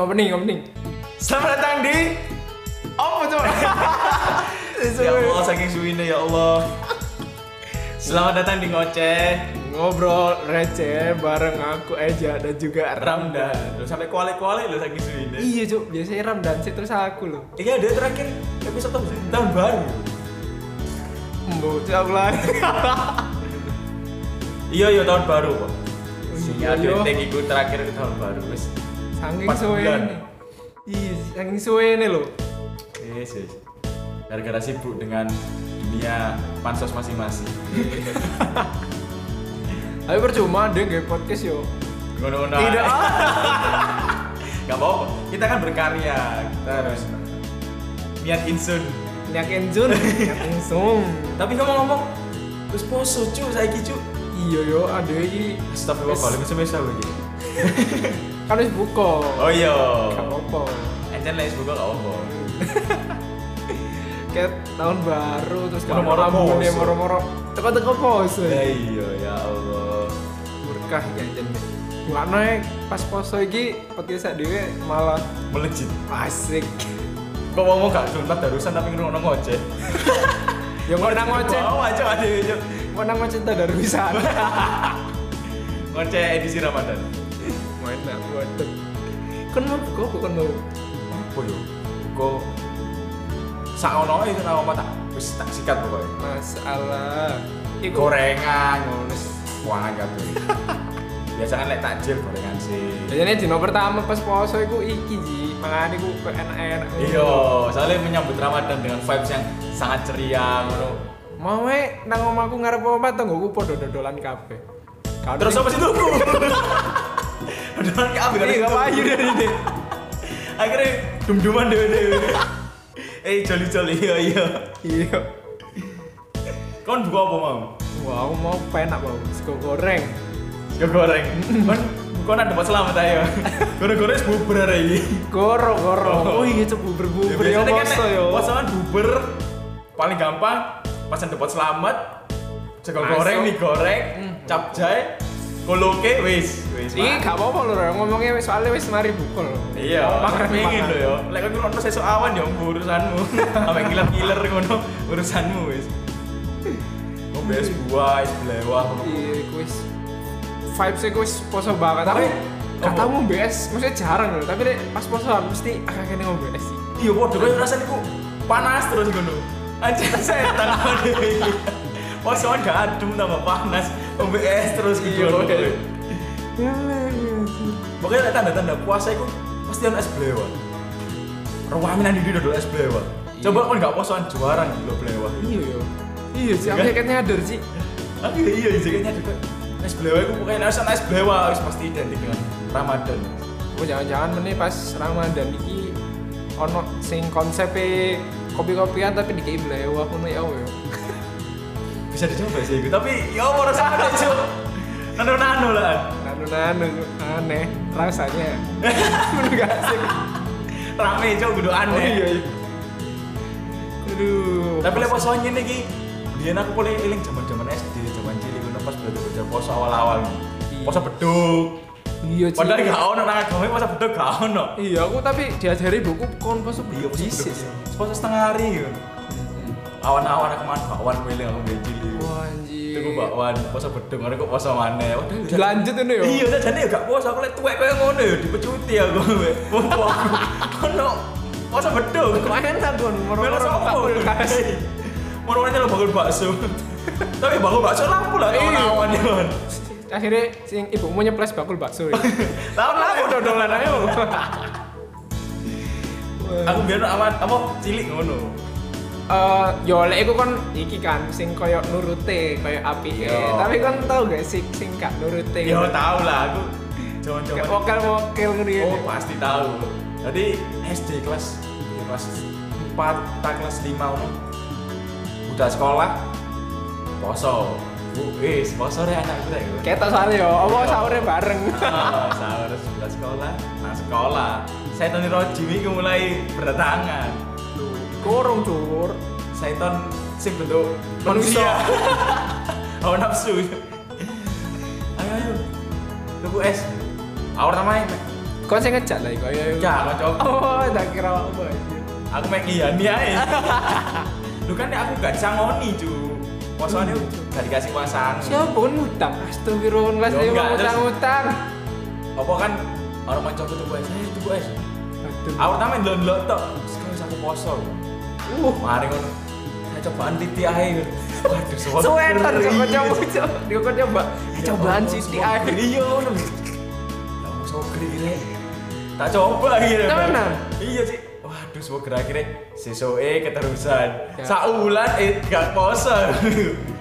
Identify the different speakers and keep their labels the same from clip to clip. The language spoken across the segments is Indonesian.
Speaker 1: opening, opening.
Speaker 2: Selamat datang di Apa coba? ya Allah saking suwine ya Allah. Selamat datang di ngoceh
Speaker 1: Ngobrol receh bareng aku Eja dan juga Ramdan.
Speaker 2: Ramdan. Lu sampai kuali-kuali lu saking suwine.
Speaker 1: Iya, Cuk. Biasanya Ramdan sih terus aku loh.
Speaker 2: Ini ada terakhir episode tahun, tahun baru.
Speaker 1: Mbok, Cuk, aku lagi.
Speaker 2: Iya iya tahun baru kok. Sini
Speaker 1: Iya,
Speaker 2: ada
Speaker 1: iya.
Speaker 2: tag iku terakhir ke tahun baru wis.
Speaker 1: Saking
Speaker 2: Empat
Speaker 1: suwe
Speaker 2: bulan.
Speaker 1: ini. Iya, saking suwe ini loh.
Speaker 2: Yes, yes. Gara-gara sibuk dengan dunia pansos masing-masing.
Speaker 1: Tapi percuma dia nggak podcast yo.
Speaker 2: Ngono-ngono.
Speaker 1: Tidak.
Speaker 2: aja. Gak apa-apa. Kita kan berkarya. Kita harus niat insun.
Speaker 1: Nyakin Jun, nyakin Sung.
Speaker 2: Tapi ngomong-ngomong, terus poso cu, saiki cu.
Speaker 1: Iya yo, ada iki
Speaker 2: Astagfirullahaladzim, semesa lagi.
Speaker 1: kan wis buka.
Speaker 2: Oh iya.
Speaker 1: Gak apa-apa.
Speaker 2: Encen les buka gak apa.
Speaker 1: Kayak tahun baru terus kalau
Speaker 2: Moro-moro
Speaker 1: moro
Speaker 2: poso.
Speaker 1: moro-moro. Teko-teko poso.
Speaker 2: Ya iya ya Allah.
Speaker 1: berkah janjian Ngono ya, pas poso iki podcast sak dhewe malah
Speaker 2: Melejit.
Speaker 1: asik.
Speaker 2: Kok ngomong gak sunat darusan tapi ngrungokno ngoceh.
Speaker 1: Ya ngono nang ngoceh,
Speaker 2: Wow, aja ada
Speaker 1: ngono nang ngoceh tak dari bisa.
Speaker 2: ngoceh edisi Ramadan.
Speaker 1: Mana waduh. Kan mau kok kok kan mau.
Speaker 2: Apa yo? Kok sak ono itu nama apa tak? Wis tak sikat pokoknya.
Speaker 1: Masalah. Iku
Speaker 2: gorengan ngono wangan kabeh. Biasa kan lek takjil gorengan sih.
Speaker 1: Biasanya dino pertama pas poso iku iki ji, mangane iku kok enak-enak.
Speaker 2: Iya, soalnya menyambut Ramadan dengan vibes yang sangat ceria ngono.
Speaker 1: Mau e nang omahku ngarep omah tonggoku padha dodolan kabeh. Kau
Speaker 2: Terus apa sih tuku? Beneran kabeh kan.
Speaker 1: Iya, gak payu dari ini.
Speaker 2: Akhirnya dum-duman dewe-dewe. Eh, joli-joli iya iya.
Speaker 1: Iya.
Speaker 2: Kon buka apa mau?
Speaker 1: Wah, aku mau penak mau sego goreng.
Speaker 2: Yo Ya, goreng. Kon kon ada dapat selamat ayo. Goreng-goreng wis bubar hari ini.
Speaker 1: Goro goro.
Speaker 2: Oh.
Speaker 1: Oh iya cep buber buber ya
Speaker 2: Biasanya kan
Speaker 1: poso yo.
Speaker 2: poso kan bubar paling gampang pasan dapat selamat. Jago
Speaker 1: Masuk.
Speaker 2: goreng, mie goreng, capcay, koloke wis wis.
Speaker 1: Iki gak apa-apa lho Rek. ngomongnya wis soalnya wis mari buka lho.
Speaker 2: Iya,
Speaker 1: Makan
Speaker 2: pengen lho ya. Lek kowe ngono sesuk awan ya mbuh urusanmu. Sampai ngiler-ngiler ngono urusanmu wis. Ngombe es buah, es belewah.
Speaker 1: Iya, iku wis vibes iku wis poso banget tapi
Speaker 2: Tapi-
Speaker 1: gak
Speaker 2: apa?
Speaker 1: tau ngombe es, maksudnya jarang lho, tapi Rek, pas posoan mesti akan kene ngombe es sih.
Speaker 2: Iya, waduh kowe rasane ku panas terus ngono. Anjir setan iya. kowe iki. Posoan gak adem tambah panas. Ngombe es terus
Speaker 1: Iya,
Speaker 2: gitu.
Speaker 1: oke.
Speaker 2: Iya,
Speaker 1: Ya lah, iya sih.
Speaker 2: Pokoknya lek tanda-tanda puasa iku pasti ono es belewah. Ruwamin nang diri dodol es belewah.
Speaker 1: Iya.
Speaker 2: Coba kon gak posoan juara lho belewah.
Speaker 1: Iya yo. Iya sih,
Speaker 2: Iya
Speaker 1: aku
Speaker 2: kan?
Speaker 1: kayak nyadar sih.
Speaker 2: Tapi ya iya jadinya juga es belewa itu pokoknya nasi es belewa harus pasti identik dengan Ramadan.
Speaker 1: Oh jangan-jangan meneh pas Ramadan iki ono sing konsepe kopi-kopian tapi dikei blewah ngono ya yo.
Speaker 2: Bisa dicoba sih itu, tapi ya mau rasa apa sih? Nano nano lah.
Speaker 1: Nano nano aneh rasanya. Menurut gak asik.
Speaker 2: Rame cok kudu aneh.
Speaker 1: Oh iya. iya. Aduh.
Speaker 2: Tapi lek poso ngene iki biyen aku boleh eling zaman-zaman SD, zaman cilik ngono pas belajar poso awal-awal.
Speaker 1: Iya.
Speaker 2: Poso beduk.
Speaker 1: iya Ci.
Speaker 2: Padahal gak ono nang agama poso beduk gak ono.
Speaker 1: Iya aku tapi diajari buku kon pas
Speaker 2: Iya poso beduk.
Speaker 1: sih.
Speaker 2: Poso setengah hari ya. Awan-awan aku makan bakwan milih aku mbek cilik.
Speaker 1: Wah anjir.
Speaker 2: Tunggu bakwan, poso bedeng, ngono kok poso maneh. Waduh,
Speaker 1: Dilanjut ini yo.
Speaker 2: Iya, sajane ya gak poso, aku lek tuwek koyo ngono ya dipecuti aku. weh. Poso aku. Ono poso bedeng.
Speaker 1: Kok enak kon
Speaker 2: Melo
Speaker 1: moro-moro
Speaker 2: sopo?
Speaker 1: buka kulkas.
Speaker 2: Iya. Moro-moro lo bakul bakso. Tapi bakul bakso lampu lah
Speaker 1: Iya.
Speaker 2: awan ya. Mon.
Speaker 1: Akhirnya sing ibumu nyeples bakul bakso ya.
Speaker 2: Lawan aku dodolan ayo.
Speaker 1: Wah.
Speaker 2: Aku biar awan apa cilik ngono.
Speaker 1: Eh, yo lek iku kon iki kan sing koyo nurute koyo apike.
Speaker 2: Iya.
Speaker 1: Tapi kon tau gak sih sing gak nurute?
Speaker 2: Ya tau lah aku.
Speaker 1: Kayak
Speaker 2: Jaman-jaman.
Speaker 1: Wokil-wokil ngene.
Speaker 2: Oh pasti tahu. Jadi SD kelas kelas 4 tak kelas 5 ono. Udah sekolah poso. Bu, Wis, poso re anak gue.
Speaker 1: Kayak tak soalnya yo, apa sahurnya bareng.
Speaker 2: Ah, sahur sudah sekolah. Nah, sekolah. Setan Roji iki mulai berdatangan.
Speaker 1: Kurung cur.
Speaker 2: Setan sing bentuk
Speaker 1: Manusia.
Speaker 2: manusia. Hawa nafsu. Ayo ayo. Tunggu es. Awar namanya.
Speaker 1: Kau sing ngejak lah iku. Ya, iku.
Speaker 2: Ya, kocok.
Speaker 1: Oh, tak kira apa.
Speaker 2: Aku mek ngiyani ae. Lu kan aku gak bisa ngoni, cu. Posone
Speaker 1: Hmm.
Speaker 2: gak dikasih kuasaan.
Speaker 1: Siapa pun utang? Astagfirullahaladzim,
Speaker 2: Yo, enggak, terus-
Speaker 1: utang-utang.
Speaker 2: Apa kan orang mancok itu gue, eh itu gue.
Speaker 1: Aduh.
Speaker 2: Aku pertama ndelok tok. Sekarang aku poso.
Speaker 1: Uh,
Speaker 2: Mari ngono. Saya cobaan titi ae. Waduh, suwe.
Speaker 1: Sweater coba coba
Speaker 2: Iya.
Speaker 1: coba. Dia kok coba. Eh, Cobaan sih di air.
Speaker 2: Iya, ngono. Ya aku soger iki. Rek. Tak coba iki. Rek.
Speaker 1: Temenan?
Speaker 2: Iya sih. Waduh, soger akhirnya sesoe keterusan.
Speaker 1: Ya.
Speaker 2: Saulan eh gak poso.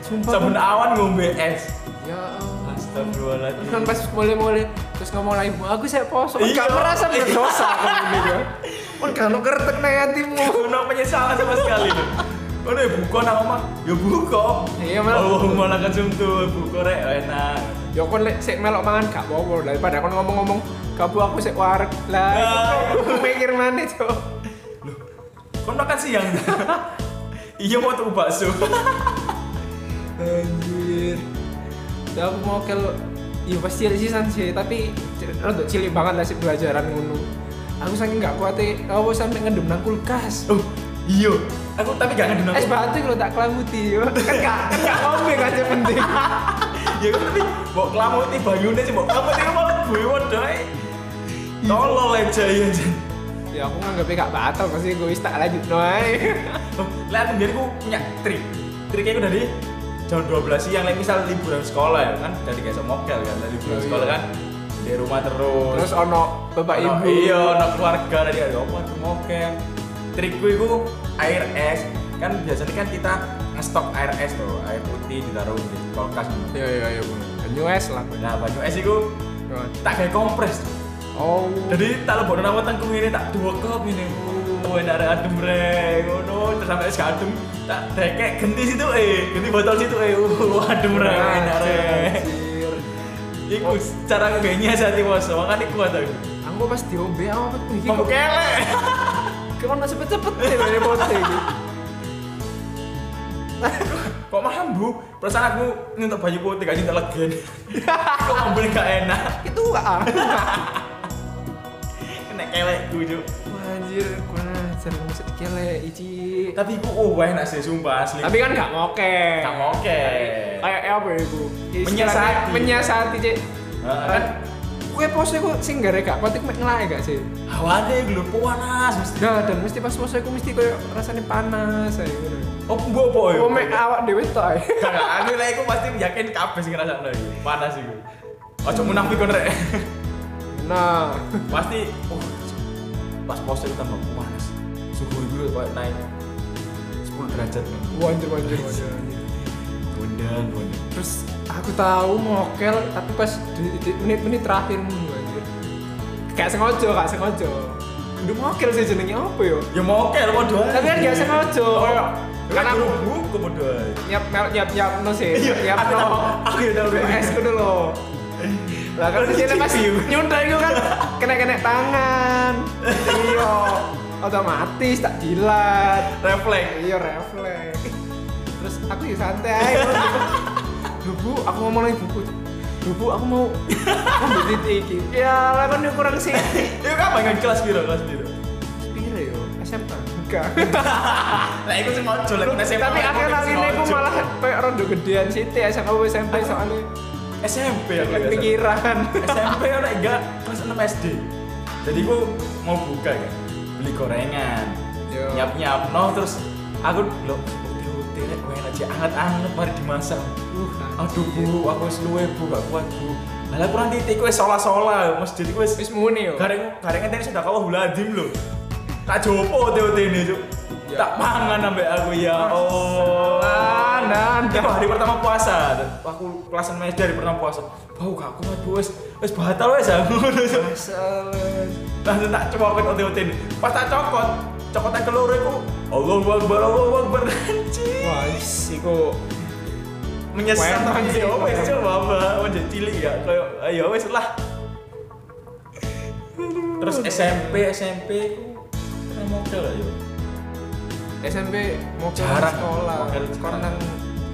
Speaker 1: Sumpah.
Speaker 2: Saben awan ngombe es.
Speaker 1: Ya. Allah. Terus kan
Speaker 2: Astagfirullahaladzim.
Speaker 1: pas mulai-mulai terus ngomong lagi, "Bu, aku saya poso.
Speaker 2: Iya.
Speaker 1: Enggak merasa berdosa kamu gitu. Pun kalau kertek negatifmu.
Speaker 2: Ono penyesalan sama sekali. Ono ya buka nang omah. Ya buka. Oh,
Speaker 1: Iya, Mas.
Speaker 2: Allahumma lakal sumtu buka rek oh, enak.
Speaker 1: Ya kon lek sik melok mangan gak apa-apa daripada kon ngomong-ngomong kabu aku sik wareg
Speaker 2: Nah.
Speaker 1: lah. Aku Mikir maneh, Cok.
Speaker 2: Loh, kon makan siang. iya mau tuh bakso.
Speaker 1: Anjir. Ya aku mau kel Iya pasti ada sisan sih, tapi c- rada cilik banget lah sih pelajaran ngono. Aku saking gak kuat e, aku sampe ngendem nang kulkas.
Speaker 2: Oh, iya. Aku tapi gak ngedun
Speaker 1: Es
Speaker 2: aku.
Speaker 1: batu kalau tak kelamuti yo. Kan gak kan gak ngombe kan yang penting.
Speaker 2: Ya kan tapi mbok klamuti bayune sih mbok klamuti kan malah gue wadah.
Speaker 1: Iya.
Speaker 2: Tolol aja ya. Jan.
Speaker 1: ya aku nganggapnya gak batal pasti gue tak lanjut noy.
Speaker 2: Loh, Lihat biar aku punya trik. Triknya aku dari jam 12 siang, like misal liburan sekolah ya kan, dari kayak mokel kan, dari liburan
Speaker 1: Oh, iya.
Speaker 2: sekolah kan, di rumah terus.
Speaker 1: Terus ono bapak
Speaker 2: Ono-
Speaker 1: ibu.
Speaker 2: Iya, ono keluarga dari ada apa tuh mokel. Trikku itu air es, kan biasanya kan kita ngestok air es tuh, air putih ditaruh di kulkas. gitu.
Speaker 1: Iya iya iya. Banyu es lah. bener.
Speaker 2: Nah, banyu es itu tak kayak kompres.
Speaker 1: Oh.
Speaker 2: Jadi tak lebok nama tangku ini tak dua kop ini. Oh, enak ada adem re, ngono terus sampai es adem tak dekek ganti situ eh, ganti botol situ eh, uh, adem re,
Speaker 1: Nah,
Speaker 2: enak re.
Speaker 1: Anjir.
Speaker 2: Iku cara kayaknya saat itu masa makan iku ada.
Speaker 1: Aku pas diombe apa tuh iki
Speaker 2: Kamu
Speaker 1: kok
Speaker 2: kelek.
Speaker 1: kok ono cepet-cepet ya dari bote iki.
Speaker 2: Kok maham bu? Perasaan aku nyentuh baju putih gak nyentuh legen. Kok ambil gak enak?
Speaker 1: Itu ah.
Speaker 2: Kena kelek gue Cuk.
Speaker 1: Anjir, kurang ajar kamu sedikit lah, Ici.
Speaker 2: Tapi iku oh enak sih sumpah asli.
Speaker 1: Tapi kan gak ngoke.
Speaker 2: Gak ngoke.
Speaker 1: Kayak apa ya, Bu?
Speaker 2: Menyiasati.
Speaker 1: Menyiasati, Cek.
Speaker 2: Heeh.
Speaker 1: Kan kue pose ku sing gara gak kotik mek ngelak gak sih?
Speaker 2: Hawane lho panas mesti.
Speaker 1: Nah, dan mesti pas pose ku mesti koyo rasanya panas ae ngono.
Speaker 2: Oh, mbok apa ya?
Speaker 1: Oh, mek awak dhewe tok ae.
Speaker 2: Kagak, aku lah aku pasti yakin kabeh sing ngrasakno iki. Panas iku. Ojo munafik kon rek.
Speaker 1: Nah,
Speaker 2: Pasti oh, pas pose itu tambah panas. Suhu iku lho kok naik 10 derajat kan.
Speaker 1: wajar wajar wajar.
Speaker 2: Bondan, bondan.
Speaker 1: Terus aku tahu mokel tapi pas di, di menit-menit terakhir ngono anjir. Gak sengaja, gak sengaja. Udah mokel sih jenenge apa yo?
Speaker 2: Ya mau oke lho padha.
Speaker 1: Tapi kan gak sengaja.
Speaker 2: Karena
Speaker 1: Karena-
Speaker 2: aku buku padha. ae.
Speaker 1: Nyap nyap nyap no sih.
Speaker 2: Iya,
Speaker 1: Nyap
Speaker 2: aku
Speaker 1: no.
Speaker 2: tahu. Aku ya tahu.
Speaker 1: Es ku dulu. Lah kan
Speaker 2: Kan
Speaker 1: sini pas
Speaker 2: dicicip.
Speaker 1: nyunda itu kan kena-kena tangan. Iya, otomatis tak dilat.
Speaker 2: Refleks.
Speaker 1: Iya refleks. Terus aku ya santai. Duh bu, aku ngomong lagi buku. Duh bu, aku mau ambil titik iki. Ya, lah kan dia kurang sih.
Speaker 2: Itu kan bangun kelas biru, kelas biru.
Speaker 1: Piro yo? SMA. Enggak.
Speaker 2: Lah iku sing mojo lek SMA.
Speaker 1: Tapi
Speaker 2: aku
Speaker 1: akhir-akhir ini
Speaker 2: sing
Speaker 1: aku
Speaker 2: mojo.
Speaker 1: malah kayak rondo gedean sih, SMA apa SMP soalnya
Speaker 2: SMP aku ya.
Speaker 1: pikiran.
Speaker 2: SMP ora enggak kelas 6 SD. Jadi aku mau buka kan, beli gorengan.
Speaker 1: Yo.
Speaker 2: Nyiap nyiap no terus aku lo putih rek wae aja anget anget mari dimasak.
Speaker 1: Uh,
Speaker 2: Aduh bu, aku wis luwe bu gak kuat bu. Lah kurang titik kowe sola-sola masjid iku wis
Speaker 1: Wis muni yo.
Speaker 2: Gareng gareng tadi sudah kau huladim lho. Tak jopo teo tene cuk.
Speaker 1: Ya.
Speaker 2: Tak mangan sampai aku ya. Oh.
Speaker 1: Anan.
Speaker 2: Itu hari pertama puasa. Aku kelas 6 SD hari pertama puasa. Bau gak kuat Bu. wis wis batal wis aku. Langsung tak cokot OT-OT ini. Pas tak cokot, cokotan keloro iku Allahu Akbar, Allahu Akbar. Anjing.
Speaker 1: Wah, is, iku
Speaker 2: Menyesat
Speaker 1: Wah,
Speaker 2: anjing.
Speaker 1: anjing.
Speaker 2: Oh wis coba apa? Wajah cilik ya. Kayak ayo wis lah. Terus SMP, SMP ku kena model ya.
Speaker 1: SMP mau ke
Speaker 2: Jarang.
Speaker 1: sekolah
Speaker 2: Mau ke sekolah.
Speaker 1: karena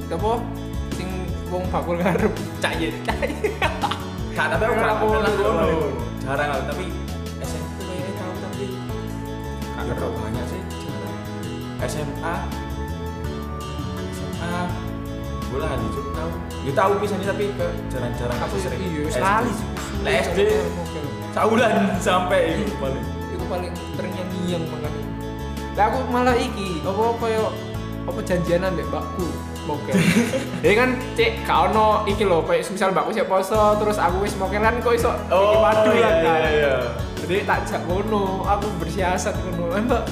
Speaker 1: apa sing wong bakul ngarep cak iya. ye cak ye
Speaker 2: Kak, tapi aku
Speaker 1: Jarang
Speaker 2: gak
Speaker 1: aku
Speaker 2: pernah
Speaker 1: dulu.
Speaker 2: ngono. Jarang aku, tapi ya kok banyak sih jarang. SMA SMA gue lah di Jogja tahu ya tahu pisan tapi ke jarang-jarang
Speaker 1: aku sering Nah, iya
Speaker 2: SD.
Speaker 1: sekali Iya,
Speaker 2: Lah, SD sebulan sampai itu paling
Speaker 1: itu paling terngiang ngiang makanya lah aku malah iki apa kaya apa janjianan deh mbakku Oke. Ya kan cek kau no iki loh kayak misal mbakku siap poso terus aku wis mokel kan kok iso iki padu
Speaker 2: iya,
Speaker 1: lah
Speaker 2: iya,
Speaker 1: kan.
Speaker 2: iya.
Speaker 1: Jadi tak jak ngono, aku bersiasat ngono. Eh, Mbak,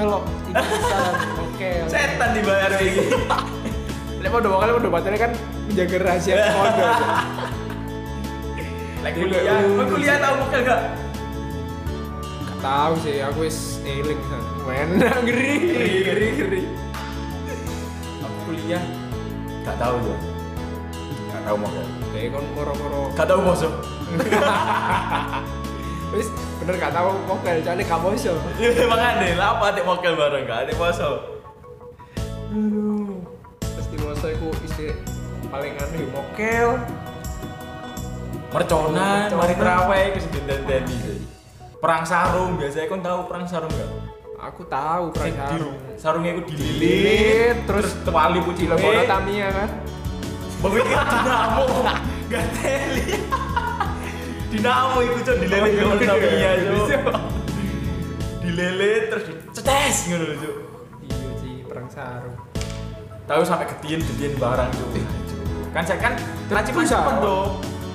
Speaker 1: melok iki pisan mokel.
Speaker 2: setan dibayar kayak gini
Speaker 1: Lek podo mokel podo batere kan menjaga rahasia podo.
Speaker 2: lagi kuliah oh, kuliah tahu bukan gak
Speaker 1: Gak tahu sih, aku wis eling kan. Enak ngeri.
Speaker 2: geri geri aku kuliah gak tahu ya gak tahu mau
Speaker 1: Kayak kon moro-moro
Speaker 2: gak tahu bosok
Speaker 1: Wis bener gak tahu mokel, soalnya gak poso.
Speaker 2: Iya, emang ada lah apa adik mokel bareng gak adik bosok
Speaker 1: Aduh. Pasti poso iku isi paling aneh yo mokel.
Speaker 2: merconan
Speaker 1: Merconan.
Speaker 2: mari terawih ke sedenden deni perang sarung biasanya kan tahu perang sarung gak
Speaker 1: Aku tahu perang sarung.
Speaker 2: sarungnya itu
Speaker 1: Dililit,
Speaker 2: dililit
Speaker 1: terus
Speaker 2: terus wali puji
Speaker 1: Cilegon Tamiya kan.
Speaker 2: Pemikir dinamo, gak teli. Dinamo itu cok dilelet
Speaker 1: Oh,
Speaker 2: dulu
Speaker 1: iya,
Speaker 2: tapi
Speaker 1: iya,
Speaker 2: iya
Speaker 1: iya.
Speaker 2: cok. Dilelet terus dicetes ngono lho cok.
Speaker 1: Iya sih perang sarung.
Speaker 2: Tahu sampai ketien ketien barang cok. Kan saya kan
Speaker 1: Eh. Terus
Speaker 2: racikan
Speaker 1: pucat.
Speaker 2: cepat to.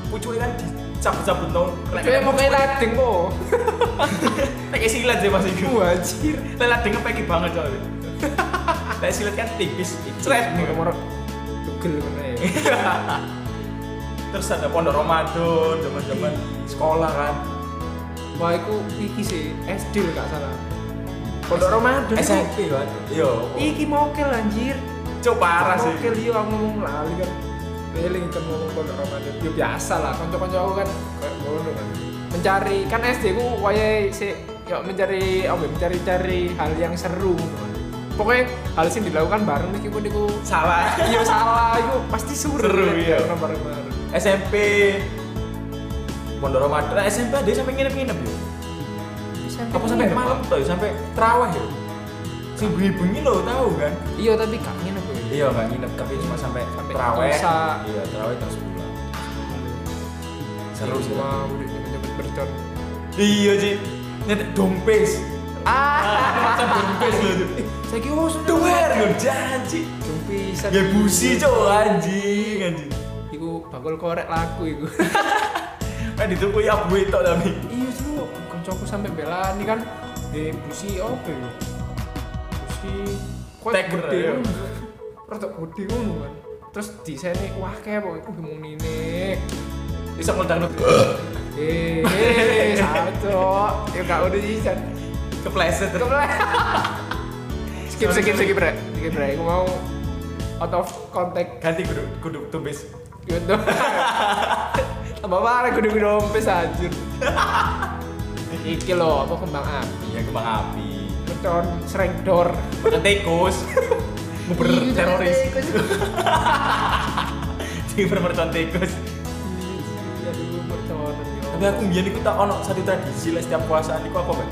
Speaker 2: Pucuknya kan dicabut-cabut to.
Speaker 1: Cuma mau kayak lading kok.
Speaker 2: Lek silat sih Mas iku.
Speaker 1: Wajir.
Speaker 2: Lek ladeng kepeki banget cok. Lek silat kan tipis,
Speaker 1: Stres
Speaker 2: cret
Speaker 1: nih nomor tugel mana ya.
Speaker 2: Terus ada pondok Ramadan, zaman-zaman sekolah kan.
Speaker 1: Wah, aku iki sih SD lho, gak salah. Pondok Ramadan.
Speaker 2: SMP kan. Iya.
Speaker 1: Iki mokel anjir.
Speaker 2: Cok parah sih.
Speaker 1: Oke, iya aku ngomong lali kan. Feeling kan ngomong pondok Ramadan. Ya biasa lah, kanca-kanca aku kan kayak ngono kan. Mencari kan SD ku wayahe sik yo mencari apa ya, mencari-cari hal yang seru ngono kan. Pokoknya hal sing dilakukan bareng iki ku niku
Speaker 2: Salah.
Speaker 1: iya salah iku pasti seru.
Speaker 2: Seru,
Speaker 1: kan,
Speaker 2: iya.
Speaker 1: karena Bareng-bareng.
Speaker 2: SMP Pondok Ramadan Nah, SMP ada sampai nginep-nginep ya apa sampai
Speaker 1: Iya,
Speaker 2: malam
Speaker 1: Pak.
Speaker 2: tuh sampai terawih ya si ibu-ibu ini lo tahu kan
Speaker 1: Iya, tapi gak nginep ya.
Speaker 2: iya nggak nginep tapi cuma sampai
Speaker 1: Sampai
Speaker 2: terawih
Speaker 1: Isa.
Speaker 2: iya terawih terus pulang seru sih
Speaker 1: Wah, udah cepet-cepet bercon.
Speaker 2: iya sih nyetek dompes
Speaker 1: Ah,
Speaker 2: macam dompes lo tuh
Speaker 1: saya kira oh, sudah.
Speaker 2: duwer lo janji
Speaker 1: Jumpi, saya-
Speaker 2: ya busi cowok anjing anjing
Speaker 1: Iku bakul korek laku iku.
Speaker 2: kan dituku ya gue itu tapi
Speaker 1: iya dulu kancaku sampai bela ini kan di busi apa ya busi kok
Speaker 2: Tiger,
Speaker 1: gede
Speaker 2: ya.
Speaker 1: ngono. rada gede ngono kan terus di sini wah kayak pokoknya aku ngomong ini
Speaker 2: bisa ngundang lo
Speaker 1: eh eh satu ya gak udah jisan
Speaker 2: kepleset
Speaker 1: skip skip skip rek skip rek aku mau out of contact
Speaker 2: ganti kudu kudu tumbes
Speaker 1: gitu tambah parah gue udah dompes anjir iki loh apa kembang api
Speaker 2: iya kembang api
Speaker 1: beton sering door
Speaker 2: Bukan tikus Nguber
Speaker 1: Iya,
Speaker 2: teroris
Speaker 1: tikus.
Speaker 2: Nguber mercon tikus
Speaker 1: Iya, dulu percobaan, yo.
Speaker 2: Tapi aku mbiyen iku tak ono satu tradisi lah setiap puasaan iku apa, Mbak?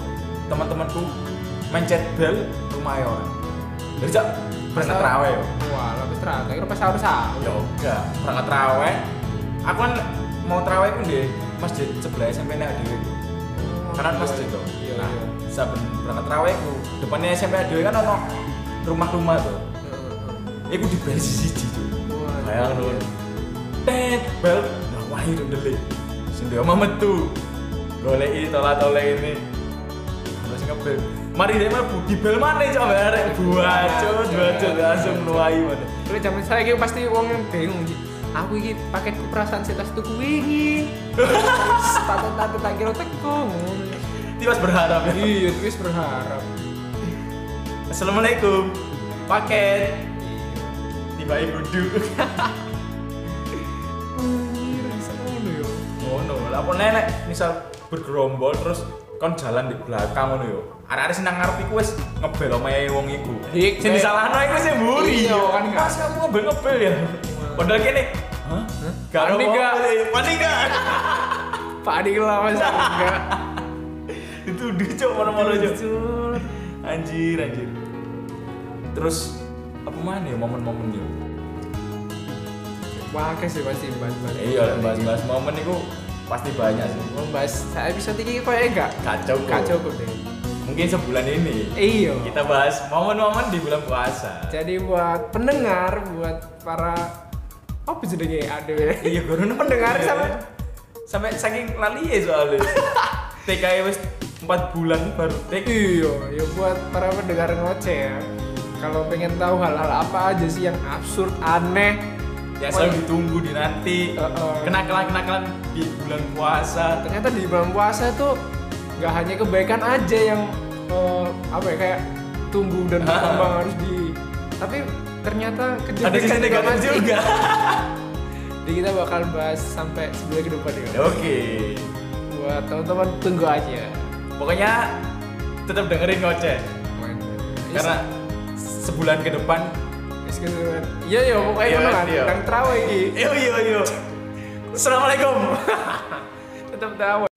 Speaker 2: Teman-temanku mencet bel rumah orang. Jadi cak berangkat terawih yo.
Speaker 1: Wah, lebih terang. Kira pas harus sahur.
Speaker 2: Ya enggak, berangkat terawih. Aku kan mau terawih ku di masjid sebelah SMP nek dhewe iku. Kanan masjid to.
Speaker 1: Oh, Iya,
Speaker 2: Nah,
Speaker 1: iya.
Speaker 2: saben berangkat terawih ku depannya SMP dhewe kan ono rumah-rumah tuh. Iku di bel siji tuh.
Speaker 1: Wah,
Speaker 2: Bayang
Speaker 1: iya.
Speaker 2: lu. Tet bel nah wah itu deli. Sendiri sama metu. Golek ini tolak tolak ini. Terus ngebel. Mari deh mah budi bel mana coba arek buat coba dua coba langsung meluai mana.
Speaker 1: Kalau zaman saya gitu pasti uang bingung sih. Aku ini paketku perasaan saya tas tuku ini. Tato tato tak kira teko.
Speaker 2: Tiwas berharap ya.
Speaker 1: Iya, terus berharap.
Speaker 2: Assalamualaikum. Paket. Tiba ibu duduk.
Speaker 1: Anjir, bisa ngono yo.
Speaker 2: Ngono. Lah apa nenek misal bergerombol terus kon jalan di belakang ngono yo. Arek-arek sing nang ngarep iku wis ngebel omahe wong iku.
Speaker 1: Dik,
Speaker 2: Sing
Speaker 1: nek-
Speaker 2: disalahno iku sing mburi.
Speaker 1: Iya, kan gak-
Speaker 2: Mas kamu ngebel ngebel ya. Padahal kene. Hah? Gak ada
Speaker 1: Panik gak?
Speaker 2: apa-apa, Dik. Panik gak?
Speaker 1: Pak Adi lah mas. Enggak.
Speaker 2: Dituduh cok mana-mana cok.
Speaker 1: Jujur.
Speaker 2: anjir anjir terus apa mana ya momen-momen itu
Speaker 1: Wah, oke sih pasti bahas-bahas.
Speaker 2: iya lek bahas-bahas momen itu pasti banyak sih
Speaker 1: Mau bahas Oh, saya bisa tinggi kayak enggak?
Speaker 2: kacau Eh.
Speaker 1: Enggak cukup deh.
Speaker 2: mungkin sebulan ini
Speaker 1: Iya.
Speaker 2: kita bahas momen-momen di bulan puasa
Speaker 1: Jadi buat pendengar, buat para apa jenenge aduh. ya?
Speaker 2: iya guru
Speaker 1: Pendengar sama-
Speaker 2: sampai saking lali ya soalnya TKI wis 4 bulan baru E. TK
Speaker 1: Iya, ya buat para pendengar ngoceh ya. Kalau pengen tahu hal-hal apa aja sih yang absurd, aneh,
Speaker 2: ya
Speaker 1: pokoknya-
Speaker 2: selalu ditunggu di nanti
Speaker 1: Heeh.
Speaker 2: kenakalan kenakalan di bulan puasa
Speaker 1: ternyata di bulan puasa tuh nggak hanya kebaikan aja yang eh, apa ya kayak tumbuh dan
Speaker 2: Ah.
Speaker 1: berkembang harus di tapi ternyata
Speaker 2: ada sisi
Speaker 1: kejebakan
Speaker 2: negatif juga
Speaker 1: Jadi kita bakal bahas sampai sebulan ke depan ya.
Speaker 2: oke
Speaker 1: Buat teman-teman tunggu aja.
Speaker 2: pokoknya tetap dengerin ngoceh karena sebulan ke depan
Speaker 1: Yes, yes, yes. Iya iya pokoknya
Speaker 2: Iya,
Speaker 1: ngono kan.
Speaker 2: iya.
Speaker 1: Nang trawe iki.
Speaker 2: yo yo yo assalamualaikum
Speaker 1: Tetep trawe.